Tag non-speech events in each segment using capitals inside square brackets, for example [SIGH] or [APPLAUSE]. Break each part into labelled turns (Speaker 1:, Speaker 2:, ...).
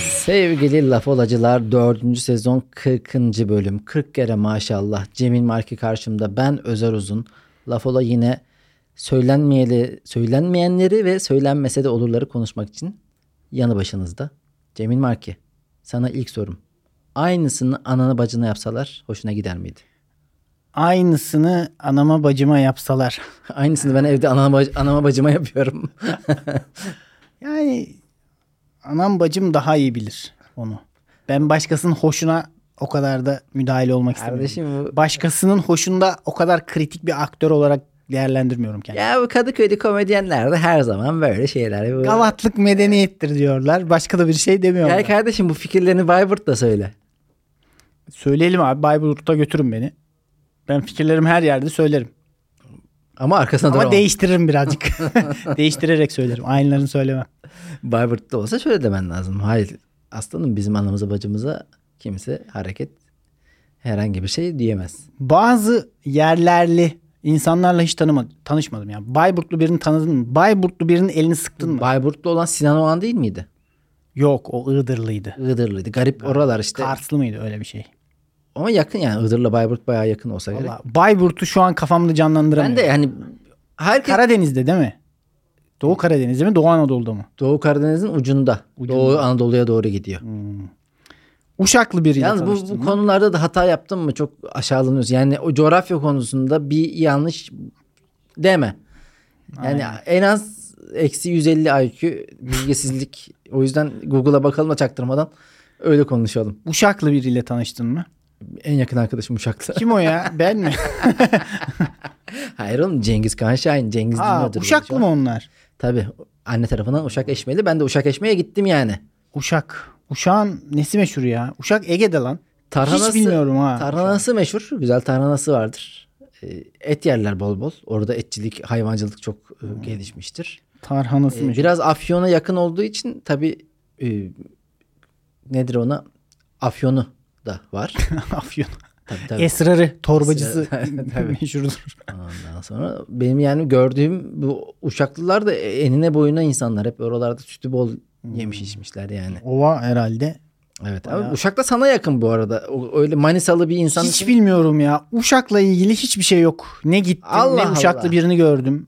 Speaker 1: Sevgili Laf Olacılar 4. sezon 40. bölüm. 40 kere maşallah. Cemil Marki karşımda ben Özer Uzun. Laf Ola yine söylenmeyeli, söylenmeyenleri ve söylenmese de olurları konuşmak için yanı başınızda. Cemil Marki sana ilk sorum. Aynısını anana bacına yapsalar hoşuna gider miydi? [LAUGHS]
Speaker 2: Aynısını anama bacıma yapsalar.
Speaker 1: Aynısını ben evde anama, bac- anama bacıma yapıyorum. [LAUGHS]
Speaker 2: Yani anam bacım daha iyi bilir onu. Ben başkasının hoşuna o kadar da müdahil olmak istemiyorum.
Speaker 1: Kardeşim bu
Speaker 2: Başkasının hoşunda o kadar kritik bir aktör olarak değerlendirmiyorum kendimi.
Speaker 1: ya bu Kadıköy'de komedyenler de her zaman böyle şeyler. Bu-
Speaker 2: Gavatlık medeniyettir diyorlar. Başka da bir şey demiyorlar.
Speaker 1: Ya kardeşim bu fikirlerini Bayburt'ta söyle.
Speaker 2: Söyleyelim abi Bayburt'a götürün beni. Ben fikirlerimi her yerde söylerim.
Speaker 1: Ama arkasına
Speaker 2: Ama
Speaker 1: doğru olmaz.
Speaker 2: değiştiririm birazcık. [LAUGHS] Değiştirerek söylerim. Aynılarını söylemem.
Speaker 1: Bayburt'ta olsa şöyle demen lazım. Hayır aslanım bizim anamıza bacımıza kimse hareket herhangi bir şey diyemez.
Speaker 2: bazı yerlerli insanlarla hiç tanıma, tanışmadım yani. Bayburtlu birini tanıdın mı? Bayburtlu birinin elini sıktın mı?
Speaker 1: Bayburtlu olan Sinan Oğan değil miydi?
Speaker 2: Yok o Iğdırlıydı.
Speaker 1: Iğdırlıydı. Garip oralar işte.
Speaker 2: Karslı mıydı öyle bir şey?
Speaker 1: Ama yakın yani Iğdır'la Bayburt bayağı yakın olsa gerek.
Speaker 2: Valla Bayburt'u şu an kafamda canlandıramıyorum.
Speaker 1: Ben de yani herkes
Speaker 2: Karadeniz'de değil mi? Doğu Karadeniz'de mi? Doğu Anadolu'da mı?
Speaker 1: Doğu Karadeniz'in ucunda. Doğu Anadolu'ya doğru gidiyor.
Speaker 2: Uşaklı biriyle
Speaker 1: Yalnız bu,
Speaker 2: tanıştın
Speaker 1: bu
Speaker 2: mı?
Speaker 1: konularda da hata yaptın mı çok aşağılanıyoruz. Yani o coğrafya konusunda bir yanlış deme. Yani en az eksi 150 IQ bilgisizlik. o yüzden Google'a bakalım da çaktırmadan öyle konuşalım.
Speaker 2: Uşaklı biriyle tanıştın mı?
Speaker 1: En yakın arkadaşım
Speaker 2: [LAUGHS]
Speaker 1: Uşaklı.
Speaker 2: Kim o ya?
Speaker 1: [LAUGHS]
Speaker 2: Ben mi?
Speaker 1: Hayır oğlum Cengiz Kaan Şahin. Cengiz
Speaker 2: Aa,
Speaker 1: dinliyordur.
Speaker 2: Uşaklı mı onlar?
Speaker 1: şey Tabii. Anne tarafından Uşak Eşmeli. Ben de Uşak Eşme'ye gittim yani.
Speaker 2: Uşak. Uşağın nesi meşhur ya? Uşak Ege'de lan.
Speaker 1: Tarhanası,
Speaker 2: Hiç bilmiyorum ha.
Speaker 1: Tarhanası meşhur. Güzel tarhanası vardır. Ee, Et yerler bol bol. Orada etçilik, hayvancılık çok e, gelişmiştir.
Speaker 2: Tarhanası
Speaker 1: Ee,
Speaker 2: Hmm. meşhur. [LAUGHS]
Speaker 1: Biraz Afyon'a yakın olduğu için tabii e, nedir ona? Afyon'u da
Speaker 2: [LAUGHS]
Speaker 1: var.
Speaker 2: Afyon.
Speaker 1: tabii tabii.
Speaker 2: Esrarı, torbacısı
Speaker 1: [LAUGHS]
Speaker 2: [LAUGHS] meşhurdur.
Speaker 1: Ondan sonra benim yani gördüğüm bu uşaklılar da enine boyuna insanlar. Hep oralarda sütü bol
Speaker 2: Hmm.
Speaker 1: yemiş içmişler yani.
Speaker 2: Ova herhalde.
Speaker 1: Evet. Ama Uşak da sana yakın bu arada. O- Öyle Manisalı bir insan.
Speaker 2: Hiç bilmiyorum ya. Uşak'la ilgili hiçbir şey yok. Ne gittim
Speaker 1: Allah
Speaker 2: ne Uşaklı
Speaker 1: Allah.
Speaker 2: birini gördüm.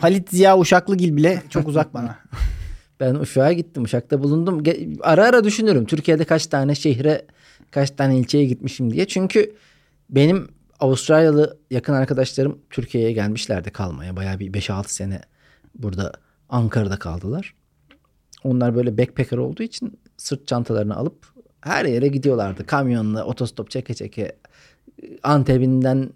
Speaker 2: Halit Ziya Uşaklıgil bile çok
Speaker 1: [LAUGHS]
Speaker 2: uzak bana.
Speaker 1: Ben Uşak'a gittim. Uşak'ta bulundum. Ge- Ara ara düşünürüm. Türkiye'de kaç tane şehre, kaç tane ilçeye gitmişim diye. Çünkü benim Avustralyalı yakın arkadaşlarım Türkiye'ye gelmişlerdi kalmaya. Bayağı bir 5-6 sene burada Ankara'da kaldılar. Onlar böyle backpacker olduğu için sırt çantalarını alıp her yere gidiyorlardı. Kamyonla otostop çeke çeke Antep'inden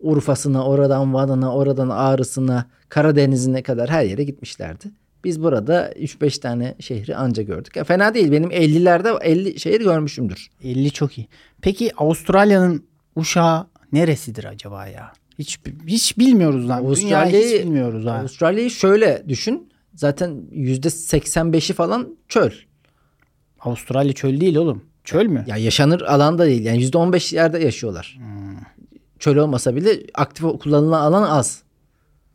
Speaker 1: Urfa'sına, oradan Van'ına, oradan Ağrı'sına, Karadeniz'ine kadar her yere gitmişlerdi. Biz burada 3-5 tane şehri anca gördük. Ya fena değil. Benim 50'lerde 50 şehir görmüşümdür.
Speaker 2: 50 çok iyi. Peki Avustralya'nın Uşağı neresidir acaba ya? Hiç hiç bilmiyoruz lan. Avustralya'yı
Speaker 1: Avustralya'yı-
Speaker 2: hiç bilmiyoruz ha.
Speaker 1: Avustralya'yı şöyle düşün. Zaten %85'i falan çöl.
Speaker 2: Avustralya çöl değil oğlum. Çöl mü?
Speaker 1: Ya yaşanır alanda değil. Yani %15 yerde yaşıyorlar.
Speaker 2: Hmm.
Speaker 1: Çöl olmasa bile aktif kullanılan alan az.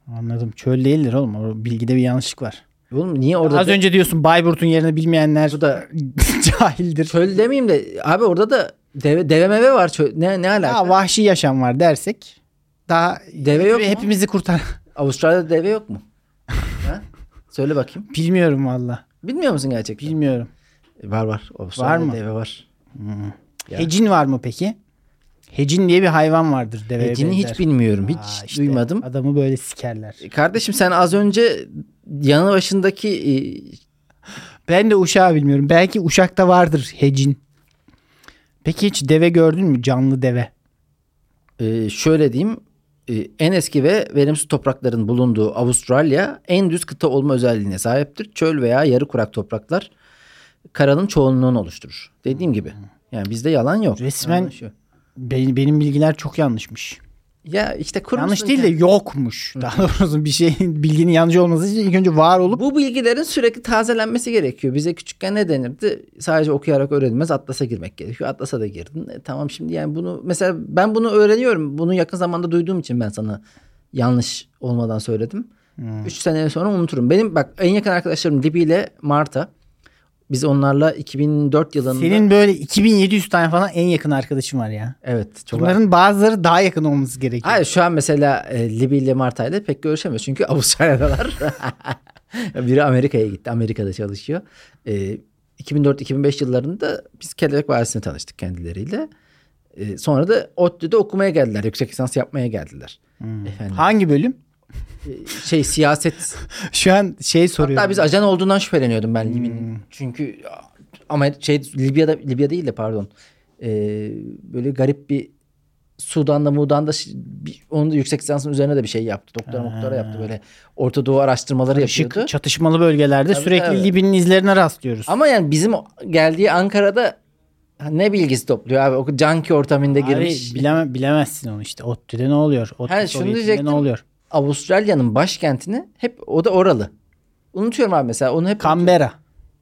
Speaker 2: Anladım. Çöl değildir oğlum. O bilgide bir yanlışlık var.
Speaker 1: Oğlum niye orada
Speaker 2: Az
Speaker 1: da-
Speaker 2: önce diyorsun Bayburt'un yerini bilmeyenler
Speaker 1: Bu da-
Speaker 2: [LAUGHS] cahildir.
Speaker 1: çöl demeyeyim de abi orada da deve, deve meve var. Çöl. Ne, ne alaka?
Speaker 2: Daha vahşi yaşam var dersek daha
Speaker 1: Deve yok mu?
Speaker 2: hepimizi kurtar. [LAUGHS]
Speaker 1: Avustralya'da deve yok mu? [LAUGHS] ha? Söyle bakayım.
Speaker 2: Bilmiyorum valla.
Speaker 1: Bilmiyor musun gerçekten?
Speaker 2: Bilmiyorum.
Speaker 1: var var. Avustralya'da
Speaker 2: Var mı?
Speaker 1: deve var. Ya.
Speaker 2: Hecin var mı peki? Hecin diye bir hayvan vardır deveye
Speaker 1: Hecini
Speaker 2: benzer.
Speaker 1: E, hiç bilmiyorum. Hiç
Speaker 2: Aa, işte,
Speaker 1: duymadım. E,
Speaker 2: Adamı böyle sikerler.
Speaker 1: Kardeşim sen az önce yanı başındaki e,
Speaker 2: Ben de uşağı bilmiyorum. Belki uşakta vardır hecin. Peki hiç deve gördün mü? Canlı deve.
Speaker 1: e, şöyle diyeyim e, en eski ve verimsiz toprakların bulunduğu Avustralya en düz kıta olma özelliğine sahiptir. Çöl veya yarı kurak topraklar karanın çoğunluğunu oluşturur. Dediğim gibi. Yani bizde yalan yok.
Speaker 2: Hmm. Resmen-
Speaker 1: Yanlış yok.
Speaker 2: Benim, benim bilgiler çok yanlışmış.
Speaker 1: ya işte
Speaker 2: Yanlış
Speaker 1: kurmuşsun
Speaker 2: değil de yokmuş. Daha doğrusu bir şeyin bilginin yanlış olması için ilk önce var olup
Speaker 1: Bu bilgilerin sürekli tazelenmesi gerekiyor. Bize küçükken ne denirdi? Sadece okuyarak öğrenilmez. Atlas'a girmek gerekiyor. Atlas'a da girdin. E, tamam şimdi yani bunu mesela ben bunu öğreniyorum. Bunu yakın zamanda duyduğum için ben sana yanlış olmadan
Speaker 2: Hmm.
Speaker 1: söyledim. Üç sene sonra unuturum. Benim bak en yakın arkadaşlarım Libby ile Marta Biz onlarla 2004 yılında
Speaker 2: Senin böyle 2700 tane falan en yakın arkadaşın var ya.
Speaker 1: evet çok
Speaker 2: Bunların bazıları daha yakın olması gerekiyor.
Speaker 1: Hayır şu an mesela e, Libby ile Marta ile pek görüşemiyoruz. Çünkü [LAUGHS] Avustralya'dalar. Biri Amerika'ya gitti. Amerika'da çalışıyor. E, 2004-2005 yıllarında biz Kelebek Vadisi'ne tanıştık kendileriyle. E, sonra da ODTÜ'de okumaya geldiler. Yüksek lisans yapmaya geldiler. Efendim,
Speaker 2: Hangi bölüm?
Speaker 1: e, şey siyaset.
Speaker 2: Şu an şey soruyorum.
Speaker 1: Hatta biz ajan olduğundan şüpheleniyordum ben Libby'nin. Çünkü ama şey Libya'da Libya değil de pardon. E, böyle garip bir Sudan'da Mudan'da şi- bir- onun da yüksek lisansının üzerine de bir şey yaptı. Doktora doktora yaptı böyle. Orta Doğu araştırmaları
Speaker 2: Işık
Speaker 1: yapıyordu.
Speaker 2: çatışmalı bölgelerde
Speaker 1: Tabii,
Speaker 2: sürekli
Speaker 1: tabii.
Speaker 2: Liby'nin izlerine rastlıyoruz.
Speaker 1: Ama yani bizim o- geldiği Ankara'da ha, ne bilgisi topluyor abi? O canki ortamında
Speaker 2: Abi,
Speaker 1: girmiş.
Speaker 2: bileme- bilemezsin onu işte. ODTÜ'de ne oluyor? ODTÜ
Speaker 1: Ha, şunu
Speaker 2: Sovyeti'nde
Speaker 1: diyecektim.
Speaker 2: ne oluyor?
Speaker 1: Avustralya'nın başkentini hep o da oralı. Unutuyorum abi mesela onu hep
Speaker 2: Canberra.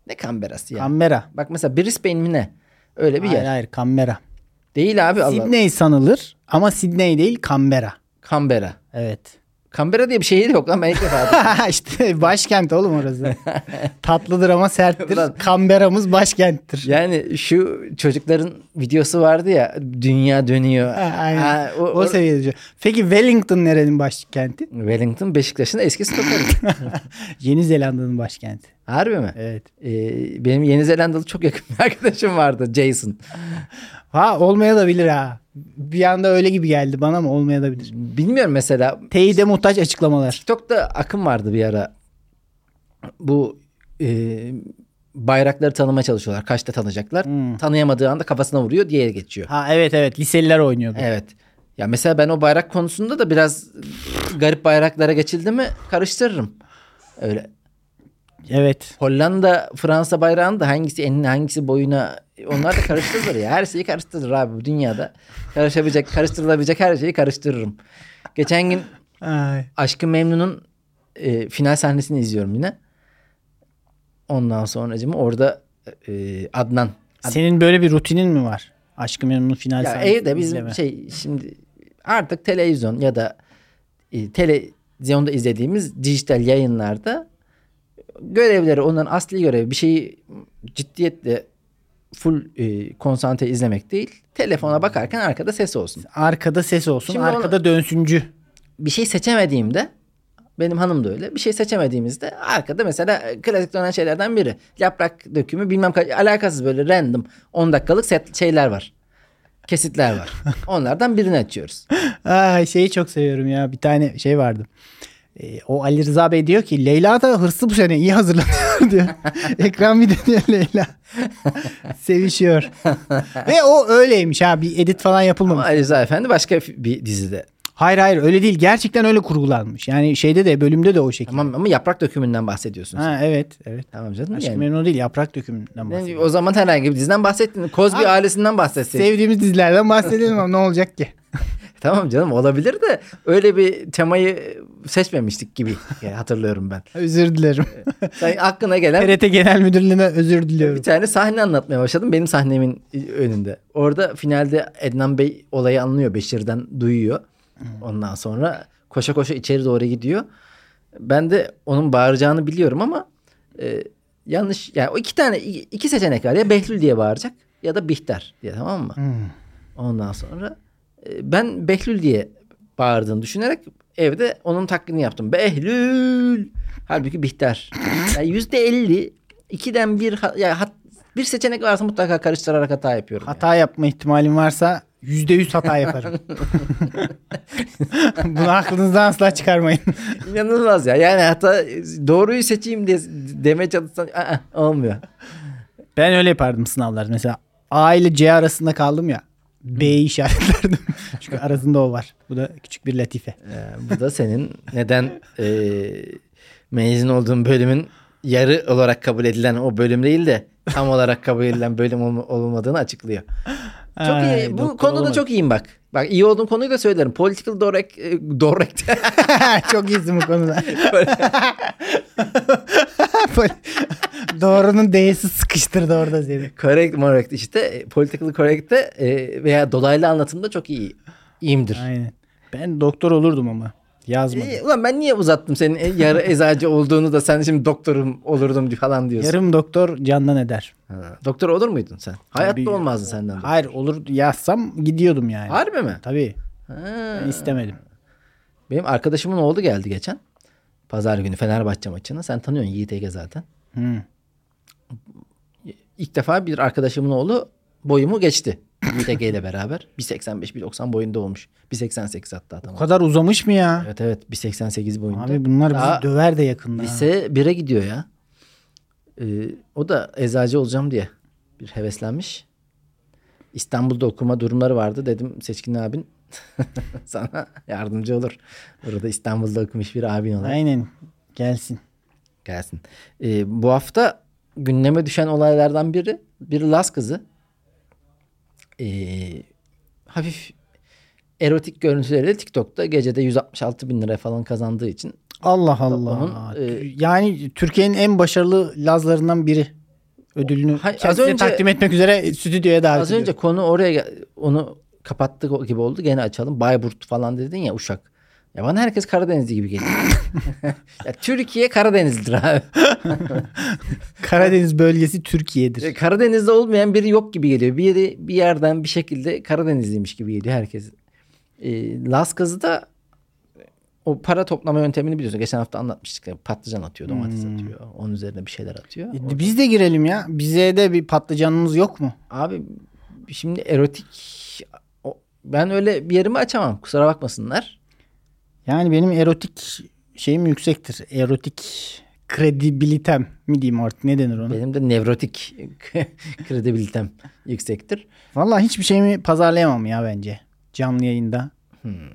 Speaker 1: ne Canberra'sı ya.
Speaker 2: Canberra.
Speaker 1: Bak mesela Brisbane mi ne? Öyle bir
Speaker 2: Hayır
Speaker 1: yer.
Speaker 2: hayır Canberra.
Speaker 1: Değil abi Allah.
Speaker 2: Sydney sanılır ama Sydney değil Canberra.
Speaker 1: Canberra.
Speaker 2: Evet. [LAUGHS]
Speaker 1: Canberra diye bir şehir yok lan ben ilk defa.
Speaker 2: işte başkent oğlum
Speaker 1: [LAUGHS]
Speaker 2: orası. Tatlıdır ama serttir.
Speaker 1: Ulan.
Speaker 2: Canberra'mız başkenttir.
Speaker 1: [LAUGHS] Yani şu çocukların videosu vardı ya dünya dönüyor.
Speaker 2: Ha, aynen.
Speaker 1: Ha, o,
Speaker 2: o,
Speaker 1: o-
Speaker 2: seviyede. Peki Wellington nerenin başkenti?
Speaker 1: Wellington Beşiktaş'ın eski [LAUGHS] stoperi.
Speaker 2: [LAUGHS] Yeni Zelanda'nın başkenti.
Speaker 1: Harbi mi?
Speaker 2: Evet.
Speaker 1: Ee, benim Yeni Zelandalı çok yakın bir [LAUGHS] arkadaşım vardı Jason.
Speaker 2: Ha olmaya da bilir ha. Bir anda öyle gibi geldi bana ama olmaya da bilir.
Speaker 1: Bilmiyorum mesela
Speaker 2: Teyide muhtaç açıklamalar.
Speaker 1: TikTok'ta akım vardı bir ara. Bu e, bayrakları tanımaya çalışıyorlar. Kaçta tanıyacaklar. Tanıyamadığı anda kafasına vuruyor diye geçiyor.
Speaker 2: Ha evet evet liseliler oynuyordu.
Speaker 1: Evet. Ya mesela ben o bayrak konusunda da biraz garip bayraklara geçildi mi karıştırırım. Öyle
Speaker 2: Evet.
Speaker 1: Hollanda, Fransa bayrağını da hangisi enine hangisi boyuna onlar da karıştırılır ya. Her şeyi karıştırır abi bu dünyada. Karışabilecek, karıştırılabilecek her şeyi karıştırırım. Geçen gün
Speaker 2: Ay.
Speaker 1: Aşkı Memnun'un e, final sahnesini izliyorum yine. Ondan sonracığım orada e, Adnan.
Speaker 2: Senin böyle bir rutinin mi var? Aşkı Memnun final
Speaker 1: Ya
Speaker 2: sahnesi
Speaker 1: evde bizim
Speaker 2: izleme.
Speaker 1: şey şimdi artık televizyon ya da e, televizyonda izlediğimiz dijital yayınlarda görevleri onların asli görevi bir şeyi ciddiyetle full e, konsantre izlemek değil. Telefona bakarken arkada ses olsun.
Speaker 2: Arkada ses olsun.
Speaker 1: Şimdi
Speaker 2: arkada dönsüncü.
Speaker 1: Bir şey seçemediğimde benim hanım da öyle. Bir şey seçemediğimizde arkada mesela e, klasik dönen şeylerden biri. Yaprak dökümü bilmem kaç alakasız böyle random 10 dakikalık set şeyler var. Kesitler [LAUGHS] var. Onlardan birini açıyoruz.
Speaker 2: Ay şeyi çok seviyorum ya. Bir tane şey vardı. Ee, o Ali Rıza Bey diyor ki Leyla da hırslı bu sene iyi hazırlanıyor [LAUGHS] diyor. Ekran bir dönüyor Leyla. [LAUGHS] Sevişiyor. Ve o öyleymiş ha. Bir edit falan yapılmamış.
Speaker 1: Ama Ali Rıza Efendi başka f- bir dizide.
Speaker 2: Hayır hayır öyle değil. Gerçekten öyle kurgulanmış. Yani şeyde de bölümde de o şekilde.
Speaker 1: Tamam ama yaprak dökümünden bahsediyorsun. sen.
Speaker 2: Ha evet evet.
Speaker 1: Tamam canım.
Speaker 2: Aşk
Speaker 1: yani.
Speaker 2: Memnu değil yaprak dökümünden
Speaker 1: Yani
Speaker 2: bahsediyorum.
Speaker 1: o zaman herhangi bir diziden bahsettin. Kozbi
Speaker 2: Abi,
Speaker 1: ailesinden bahsetseydin.
Speaker 2: Sevdiğimiz dizilerden bahsedelim ama ne olacak [LAUGHS] ki?
Speaker 1: tamam canım olabilir de öyle bir temayı seçmemiştik
Speaker 2: [LAUGHS]
Speaker 1: gibi yani hatırlıyorum ben.
Speaker 2: Özür dilerim. [LAUGHS]
Speaker 1: Sen aklına gelen
Speaker 2: TRT Genel Müdürlüğü'ne özür
Speaker 1: bir
Speaker 2: diliyorum.
Speaker 1: tane sahne anlatmaya başladım benim sahnemin önünde. Orada finalde Ednan Bey olayı anlıyor. Beşir'den duyuyor. Ondan sonra koşa koşa içeri doğru gidiyor. Ben de onun bağıracağını biliyorum ama e, yanlış yani o iki tane iki seçenek var ya Behlül diye bağıracak ya da Bihter diye tamam mı?
Speaker 2: Hmm.
Speaker 1: Ondan sonra e, ben Behlül diye bağırdığını düşünerek evde onun taklidini yaptım. Behlül. Halbuki Bihter. Yani yüzde elli ikiden bir ha- ya hat- bir seçenek varsa mutlaka karıştırarak hata yapıyorum. yani.
Speaker 2: Hata yapma ihtimalim varsa yüzde yüz hata yaparım. Bunu aklınızdan asla çıkarmayın.
Speaker 1: [LAUGHS] İnanılmaz ya. Yani hata doğruyu seçeyim diye demeye çalışsan aa, olmuyor.
Speaker 2: Ben öyle yapardım sınavlarda. Mesela A ile C arasında kaldım ya. B'yi işaretlerdim. [LAUGHS] Çünkü arasında o var. Bu da küçük bir latife.
Speaker 1: Ee, bu da senin neden e, mezun olduğun bölümün yarı olarak kabul edilen o bölüm değil de tam olarak kabul edilen bölüm olma- olmadığını açıklıyor. Çok
Speaker 2: Ay,
Speaker 1: iyi.
Speaker 2: doktor
Speaker 1: Bu konuda
Speaker 2: olamadım.
Speaker 1: çok iyiyim bak. Bak iyi olduğum konuyu da söylerim. Political direct, e, direct. [LAUGHS]
Speaker 2: [LAUGHS] çok iyisin bu konuda. Böyle- Doğrunun D'si sıkıştırdı orada seni.
Speaker 1: correct, correct işte. E, Political correct'te e, veya dolaylı anlatımda çok iyi. iyiyimdir.
Speaker 2: Aynen. Ben doktor olurdum ama. Yazmadım.
Speaker 1: E, ulan ben niye uzattım senin e- yarı eczacı olduğunu da sen şimdi doktorum olurdum di- falan diyorsun.
Speaker 2: Yarım doktor candan eder.
Speaker 1: Ha, Doktor olur muydun sen? Hayatta
Speaker 2: Tabii.
Speaker 1: olmazdın senden. de.
Speaker 2: Hayır olur yazsam gidiyordum yani.
Speaker 1: Harbi mi?
Speaker 2: Tabii.
Speaker 1: Ha.
Speaker 2: Ben istemedim.
Speaker 1: Benim arkadaşımın oğlu geldi geçen. Pazar günü Fenerbahçe maçına. Sen tanıyorsun Yiğit Ege zaten.
Speaker 2: Hı.
Speaker 1: İlk defa bir arkadaşımın oğlu boyumu geçti. Yiğit Ege ile beraber. 1.85-1.90 boyunda olmuş. 1.88 hatta
Speaker 2: Bu
Speaker 1: adam.
Speaker 2: kadar uzamış mı ya?
Speaker 1: Evet evet 1.88 boyunda.
Speaker 2: Abi bunlar bizi
Speaker 1: Daha
Speaker 2: döver de yakında. ha.
Speaker 1: Lise 1'e gidiyor ya. Ee, o da eczacı olacağım diye bir heveslenmiş. İstanbul'da okuma durumları vardı. Dedim Seçkin abin [LAUGHS] sana yardımcı olur. Burada İstanbul'da okumuş bir abin olarak
Speaker 2: Aynen. Gelsin.
Speaker 1: gelsin. Ee, bu hafta gündeme düşen olaylardan biri bir Las kızı. Ee, hafif erotik görüntüleriyle TikTok'ta gecede 166 bin lira falan kazandığı için
Speaker 2: Allah Allah.
Speaker 1: Onun, e,
Speaker 2: yani Türkiye'nin en başarılı Lazlarından biri. Ödülünü
Speaker 1: Hayır, az
Speaker 2: kendisine
Speaker 1: önce-
Speaker 2: takdim etmek üzere stüdyoya davet
Speaker 1: Az önce konu oraya gel- onu kapattık gibi oldu. Gene açalım. Bayburt falan dedin ya Uşak. Ya bana herkes Karadenizli gibi geliyor. ya Türkiye Karadeniz'dir abi.
Speaker 2: Karadeniz bölgesi Türkiye'dir.
Speaker 1: E, Karadeniz'de olmayan biri yok gibi geliyor. Biri bir yerden bir şekilde Karadenizliymiş gibi geliyor herkes. E, Las kızı da o para toplama yöntemini biliyorsun. Geçen hafta anlatmıştık. ya. Patlıcan atıyor, domates atıyor. Onun üzerine bir şeyler atıyor. O-
Speaker 2: E, Biz de girelim ya. Bize de bir patlıcanımız yok mu?
Speaker 1: Abi şimdi erotik o- ben öyle bir yerimi açamam. Kusura bakmasınlar.
Speaker 2: Yani benim erotik şeyim yüksektir. Erotik kredibilitem mi diyeyim artık ne denir ona?
Speaker 1: Benim de nevrotik [LAUGHS] kredibilitem yüksektir.
Speaker 2: Vallahi hiçbir şeyimi pazarlayamam ya bence canlı yayında.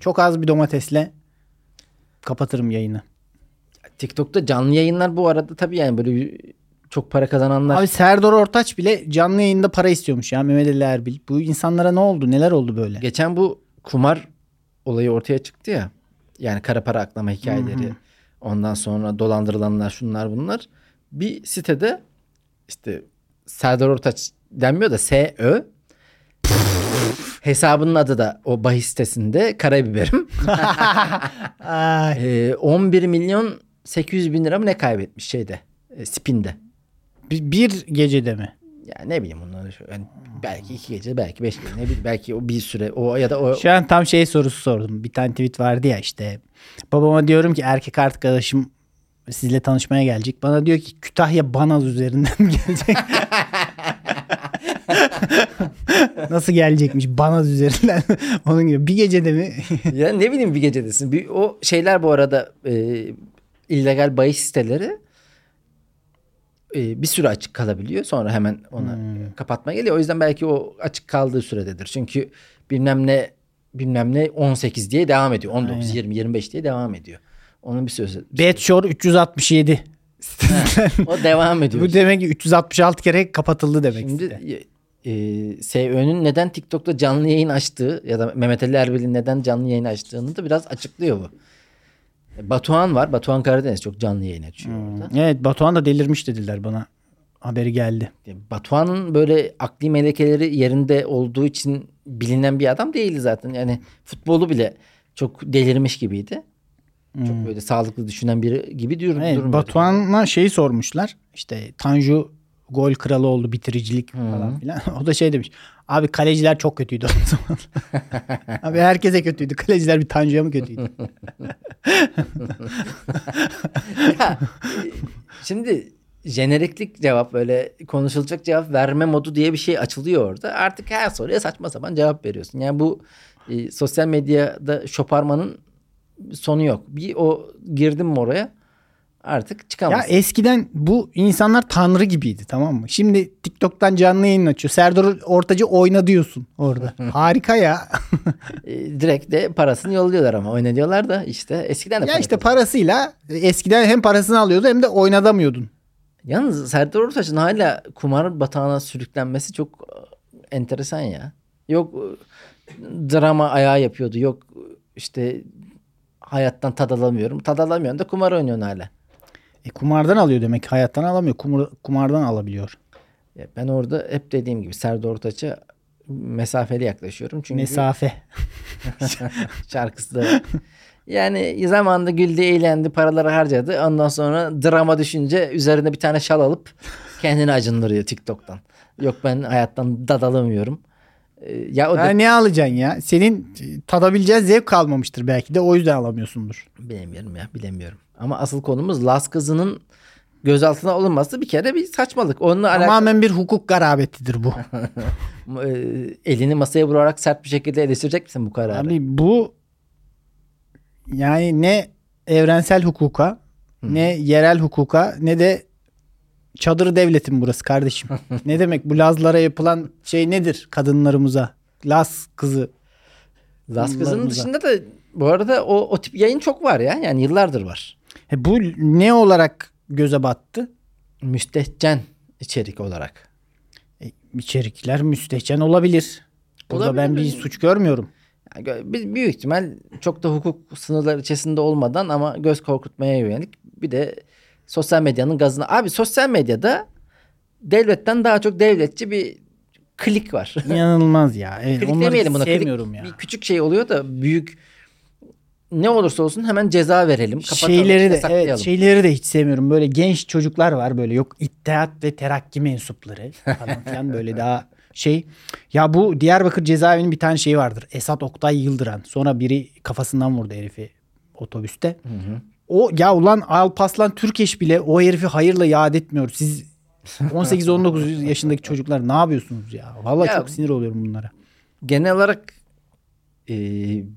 Speaker 2: Çok az bir domatesle kapatırım yayını.
Speaker 1: TikTok'ta canlı yayınlar bu arada tabii yani böyle çok para kazananlar.
Speaker 2: Abi Serdar Ortaç bile canlı yayında para istiyormuş ya Mehmet Ali Erbil. Bu insanlara ne oldu? Neler oldu böyle?
Speaker 1: Geçen bu kumar olayı ortaya çıktı ya. Yani kara para aklama hikayeleri. Ondan sonra dolandırılanlar şunlar bunlar. Bir sitede işte Serdar Ortaç denmiyor da SÖ hesabının adı da o bahis sitesinde karabiberim.
Speaker 2: Ay,
Speaker 1: Ee, 11 milyon 800 bin lira mı ne kaybetmiş şeyde e, spinde.
Speaker 2: bir, bir gecede mi?
Speaker 1: Yani ne bileyim onları şu- yani belki iki gece belki beş gece ne bileyim belki o bir süre o ya da o
Speaker 2: Şu an tam şey sorusu sordum. Bir tane tweet vardı ya işte. Babama diyorum ki erkek arkadaşım sizle tanışmaya gelecek. Bana diyor ki Kütahya Banaz üzerinden [LAUGHS] mi gelecek. Nasıl gelecekmiş Banaz üzerinden. [LAUGHS] Onun gibi bir gecede mi? [LAUGHS]
Speaker 1: ya ne bileyim bir gecedesin. Bir, o şeyler bu arada e, illegal bahis siteleri e, bir süre açık kalabiliyor. Sonra hemen ona e, kapatma geliyor. O yüzden belki o açık kaldığı sürededir. Çünkü bilmem ne bilmem ne 18 diye devam ediyor. 19, 20, 25 diye devam ediyor. Onun bir sözü.
Speaker 2: Betshore 367.
Speaker 1: O devam ediyor.
Speaker 2: [LAUGHS] Bu demek ki 366 kere kapatıldı demek. Şimdi...
Speaker 1: Şimdi e, SEO'nun neden TikTok'ta canlı yayın açtığı ya da Mehmet Ali Erbil'in neden canlı yayın açtığını da biraz açıklıyor bu. E, Batuhan var. Batuhan Karadeniz çok canlı yayın açıyor
Speaker 2: Hmm.
Speaker 1: orada.
Speaker 2: Evet Batuhan da delirmiş dediler bana. Haberi geldi.
Speaker 1: E, Batuhan'ın böyle akli melekeleri yerinde olduğu için bilinen bir adam değildi zaten. Yani futbolu bile çok delirmiş gibiydi. Çok böyle sağlıklı düşünen biri gibi diyorum.
Speaker 2: Evet,
Speaker 1: durmuyordu.
Speaker 2: Batuhan'a şeyi sormuşlar. İşte Tanju gol kralı oldu bitiricilik falan filan. [LAUGHS] O da şey demiş. Abi kaleciler çok kötüydü o zaman. [LAUGHS] Abi herkese kötüydü. Kaleciler bir Tanju'ya mı kötüydü?
Speaker 1: Ya, e, [LAUGHS] Şimdi jeneriklik cevap böyle konuşulacak cevap verme modu diye bir şey açılıyor orada. Artık her soruya saçma sapan cevap veriyorsun. Yani bu e, sosyal medyada şoparmanın sonu yok. Bir o girdim mi oraya artık
Speaker 2: ya
Speaker 1: çıkamazsın.
Speaker 2: eskiden bu insanlar tanrı gibiydi tamam mı? Şimdi TikTok'tan canlı yayın açıyor. Serdar Ortacı oyna diyorsun orada. Harika ya.
Speaker 1: E, direkt de parasını yolluyorlar ama oynanıyorlar da işte eskiden de
Speaker 2: ya
Speaker 1: para
Speaker 2: işte
Speaker 1: kazan-
Speaker 2: parasıyla eskiden hem parasını alıyordu hem de oynatamıyordun.
Speaker 1: Yalnız Serdar Ortaç'ın hala kumar batağına sürüklenmesi çok e, enteresan ya. Yok e, drama ayağı yapıyordu. Yok e, işte hayattan tad alamıyorum. Tad alamıyorsun da kumar oynuyorsun hala.
Speaker 2: E, kumardan alıyor demek. ki. Hayattan alamıyor. Kumar- kumardan alabiliyor.
Speaker 1: Ya Ben orada hep dediğim gibi Serdar Ortaç'a mesafeli yaklaşıyorum. Çünkü
Speaker 2: Mesafe.
Speaker 1: şarkısı da var. Yani zamanında güldü, eğlendi, paraları harcadı. Ondan sonra drama düşünce üzerine bir tane şal alıp kendini acındırıyor TikTok'tan. Yok ben hayattan dadalamıyorum. Ee, Ya o da
Speaker 2: Ha, ne alacaksın ya? Senin e, tadabileceğin zevk kalmamıştır belki de o yüzden alamıyorsundur.
Speaker 1: bilemiyorum ya bilemiyorum. Ama asıl konumuz Las kızının gözaltına alınması bir kere bir saçmalık. Onunla alakalı
Speaker 2: Tamamen bir hukuk garabetidir
Speaker 1: [LAUGHS]
Speaker 2: bu.
Speaker 1: Ee, elini masaya vurarak sert bir şekilde eleştirecek misin bu kararı?
Speaker 2: Abi bu yani ne evrensel hukuka ne yerel hukuka ne de çadır devletin burası
Speaker 1: [LAUGHS]
Speaker 2: kardeşim. ne demek bu Lazlara yapılan şey nedir kadınlarımıza? Laz kızı.
Speaker 1: Las kızının
Speaker 2: Bunlarımıza.
Speaker 1: dışında da bu arada o, o tip yayın çok var ya. Yani yıllardır var.
Speaker 2: E bu ne olarak göze battı?
Speaker 1: Müstehcen içerik olarak.
Speaker 2: E, içerikler müstehcen olabilir. Burada
Speaker 1: Olabilir
Speaker 2: ben
Speaker 1: mi?
Speaker 2: bir suç görmüyorum.
Speaker 1: Yani gö- bi- büyük ihtimal çok da hukuk sınırları içerisinde olmadan ama göz korkutmaya yönelik bir de sosyal medyanın gazına. Abi sosyal medyada devletten daha çok devletçi bir klik
Speaker 2: [LAUGHS]
Speaker 1: var.
Speaker 2: İnanılmaz ya. Evet,
Speaker 1: klik
Speaker 2: onları
Speaker 1: demeyelim buna. Klik
Speaker 2: sevmiyorum ya.
Speaker 1: Bir küçük şey oluyor da büyük ne olursa olsun hemen ceza verelim. Kapatalım,
Speaker 2: şeyleri de
Speaker 1: yasaklayalım.
Speaker 2: evet, şey- şeyleri de hiç sevmiyorum. Böyle genç çocuklar var böyle yok İttihat ve Terakki mensupları
Speaker 1: [LAUGHS]
Speaker 2: falan filan böyle daha şey. Ya bu Diyarbakır cezaevinin bir tane şeyi vardır. Esat Oktay Yıldıran. Sonra biri kafasından vurdu herifi otobüste. O ya ulan Alpaslan Türkeş bile o herifi hayırla yad etmiyor. Siz
Speaker 1: [LAUGHS]
Speaker 2: 18-19 yaşındaki çocuklar ne yapıyorsunuz ya? Vallahi
Speaker 1: Ya-
Speaker 2: çok sinir oluyorum bunlara.
Speaker 1: genel olarak e,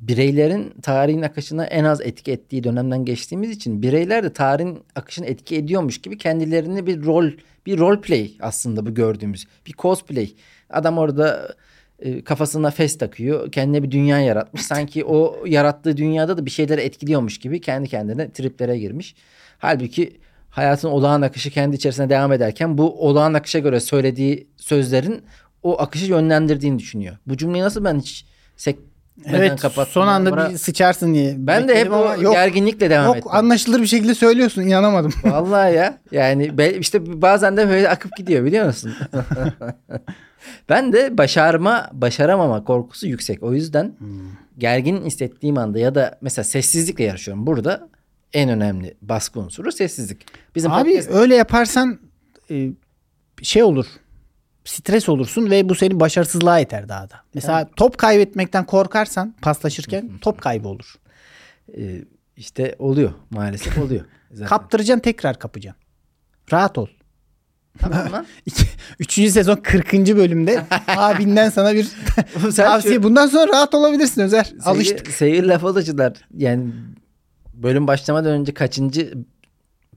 Speaker 1: bireylerin tarihin akışına en az etki ettiği dönemden geçtiğimiz için bireyler de tarihin akışına etki ediyormuş gibi kendilerini bir rol bir rol play aslında bu gördüğümüz bir cosplay. Adam orada e, kafasına fes takıyor. Kendine bir dünya yaratmış. Sanki o yarattığı dünyada da bir şeyleri etkiliyormuş gibi kendi kendine triplere girmiş. Halbuki hayatın olağan akışı kendi içerisine devam ederken bu olağan akışa göre söylediği sözlerin o akışı yönlendirdiğini düşünüyor. Bu cümleyi nasıl ben hiç sekmeden
Speaker 2: Evet
Speaker 1: kapattım?
Speaker 2: son anda
Speaker 1: Bana-
Speaker 2: bir sıçarsın diye.
Speaker 1: ben de hep
Speaker 2: bekledim ama
Speaker 1: o gerginlikle devam
Speaker 2: Yok
Speaker 1: ettim.
Speaker 2: anlaşılır bir şekilde söylüyorsun inanamadım.
Speaker 1: Vallahi ya. Yani be- işte bazen de böyle akıp gidiyor biliyor
Speaker 2: [LAUGHS]
Speaker 1: musun? ben de başarma, başaramama korkusu yüksek. O yüzden
Speaker 2: Hmm.
Speaker 1: gergin hissettiğim anda ya da mesela sessizlikle yarışıyorum. Burada en önemli baskı unsuru sessizlik. Bizim
Speaker 2: Abi
Speaker 1: podcast-
Speaker 2: öyle yaparsan e, şey olur. Stres olursun ve bu seni başarısızlığa iter daha da. Mesela top kaybetmekten korkarsan paslaşırken top kaybı olur.
Speaker 1: e, işte oluyor maalesef
Speaker 2: [LAUGHS]
Speaker 1: oluyor. Zaten.
Speaker 2: Kaptıracaksın tekrar kapacaksın. Rahat ol.
Speaker 1: Tamam
Speaker 2: [LAUGHS]
Speaker 1: lan.
Speaker 2: İki- Üçüncü sezon
Speaker 1: [LAUGHS]
Speaker 2: 40. bölümde abinden sana bir
Speaker 1: Sen
Speaker 2: tavsiye.
Speaker 1: şu-
Speaker 2: Bundan sonra rahat olabilirsin Özer. Alıştık.
Speaker 1: Sevgili, sevgili laf alıcılar yani bölüm başlamadan önce kaçıncı